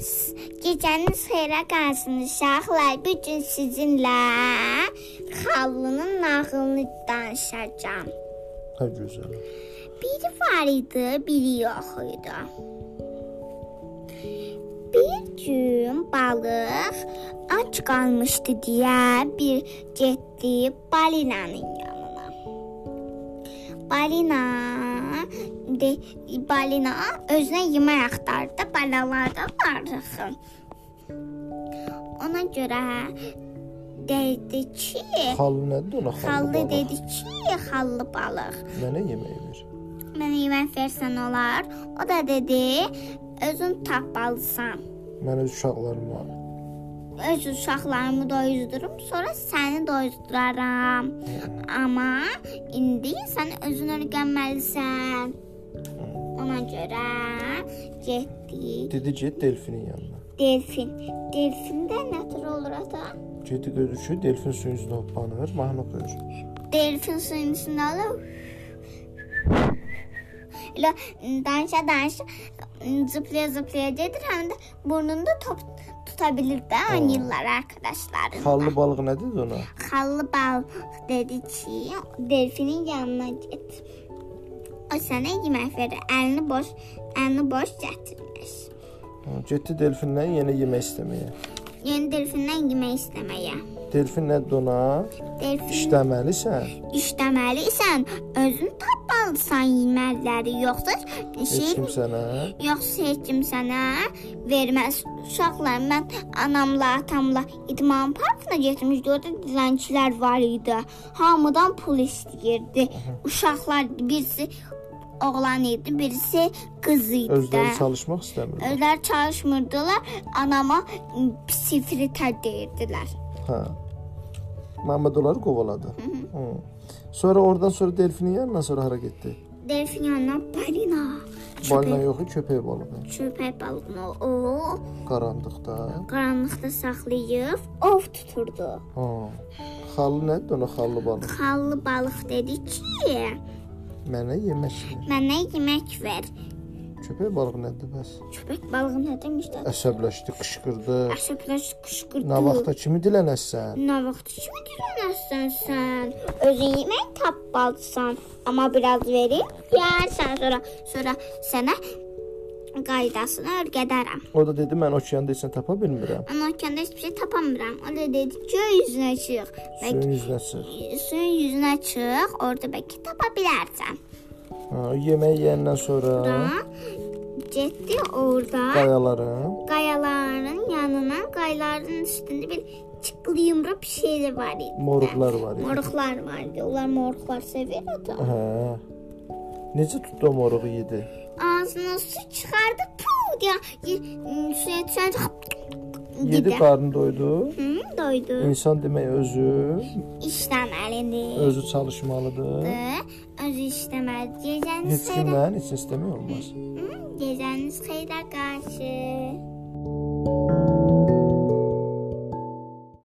S- Gecəniz xeyrə qalsın uşaqlar. Bu gün sizinlə xallının nağılını danışacağam. Hə gözəl. Biri var idi, biri yox idi. Bir gün balıq aç qalmışdı deyə bir getdi balinanın yanına. Balina de, balina özünə yemək axtardı, balalar da vardı. Ona görə dedi ki, Xallı nədir ona xallı? xallı baba? dedi ki, xallı balıq. Mənə yemək ver. Mənə yemək versən olar. O da dedi, özün tapmalısan. Mən öz uşaqlarım var. Öz uşaqlarımı doyuzdurum, sonra səni doyuzduraram. Amma indi sən özün öyrənməlisən. Ona görə getdi. Dedi get delfinin yanına. Delfin. Delfində nə tür olur ata? Gedi gözükür, delfin suyun üzünə hoppanır, mahnı oxuyur. Delfin suyun içində olur. Elə danışa danışa zıplaya zıplaya gedir, həm də burnunda top tuta bilir də oynayırlar arkadaşlar. Xallı balıq nə dedi ona? Xallı bal dedi ki, delfinin yanına get. O sənə yemək verir, əlini boş, əlini boş gətirmiş. Ha, Getdi delfindən yenə yemək istəməyə. Yeni delfindən yemək istəməyə. Delfin nə dedi ona? Delfin İşləməlisən, işləməlisən, özün tapmalısan yeməkləri, yoxsa heç şey kim sənə Yoxsa heç kim sənə verməz. Uşaqlar, mən anamla, atamla idman parkına getmişdik. Orada dilənçilər var idi. Hamıdan pul istəyirdi. Uşaqlar birisi oğlan idi, birisi qız idi. özləri çalışmaq istəmir. Özləri çalışmırdılar. Anama sifritə deyirdilər. Hə. Məhəmməd onları qovaladı. Hı. Sonra oradan sonra delfinin yanına sonra hara getdi? Delfin yanına balina. Balina yoxu, köpək balığı. Köpək balığını o Qaranlıqda. qaranlıqda saxlayıb ov tuturdu. Ha. Xallı nə dedi ona xallı balıq? Xallı balıq dedi ki, Mənə yemək ver. Mənə yemək ver. Köpək balığı nədir bəs? Köpək balığı nə demişdi? Əsəbləşdi, qışqırdı. Əsəbləş qışqırdı. Nə vaxta kimi dilənəsən? Nə vaxt kimi dilənəsən sən? Özün yemək tapmalısan, amma biraz verim, yeyərsən sonra. Sonra sənə qaydasını öyrədərəm. O da dedi mən okeanda heç nə tapa bilmirəm. Mən okeanda heç bir şey tapamıram. O da dedi, göy üzünə çıx. Bəlkə Suyun üzünə çıx. suyun üzünə çıx, orada bəlkə tapa bilərsən. Ha, yemək yeyəndən sonra Sonra getdi orada. qayaların qayaların yanına, qayaların üstündə bir çıqqılı yumru bir şeyler var idi. moruqlar var idi. Moruqlar vardı. Onlar moruqlar sever adam. Hə. Necə tutdu o moruğu yedi? Ağzına su çıxardı, puu diye şey, y- m, suya düşerdi. Yedi qarnı doydu. Hı, doydu. İnsan demək özü, İşləməlidir. özü çalışmalıdır. Öz işləməli. Gecəniz Heç xeyrə, kimdən heç nə istəmək olmaz. Hı, gecəniz xeyrə qarşı.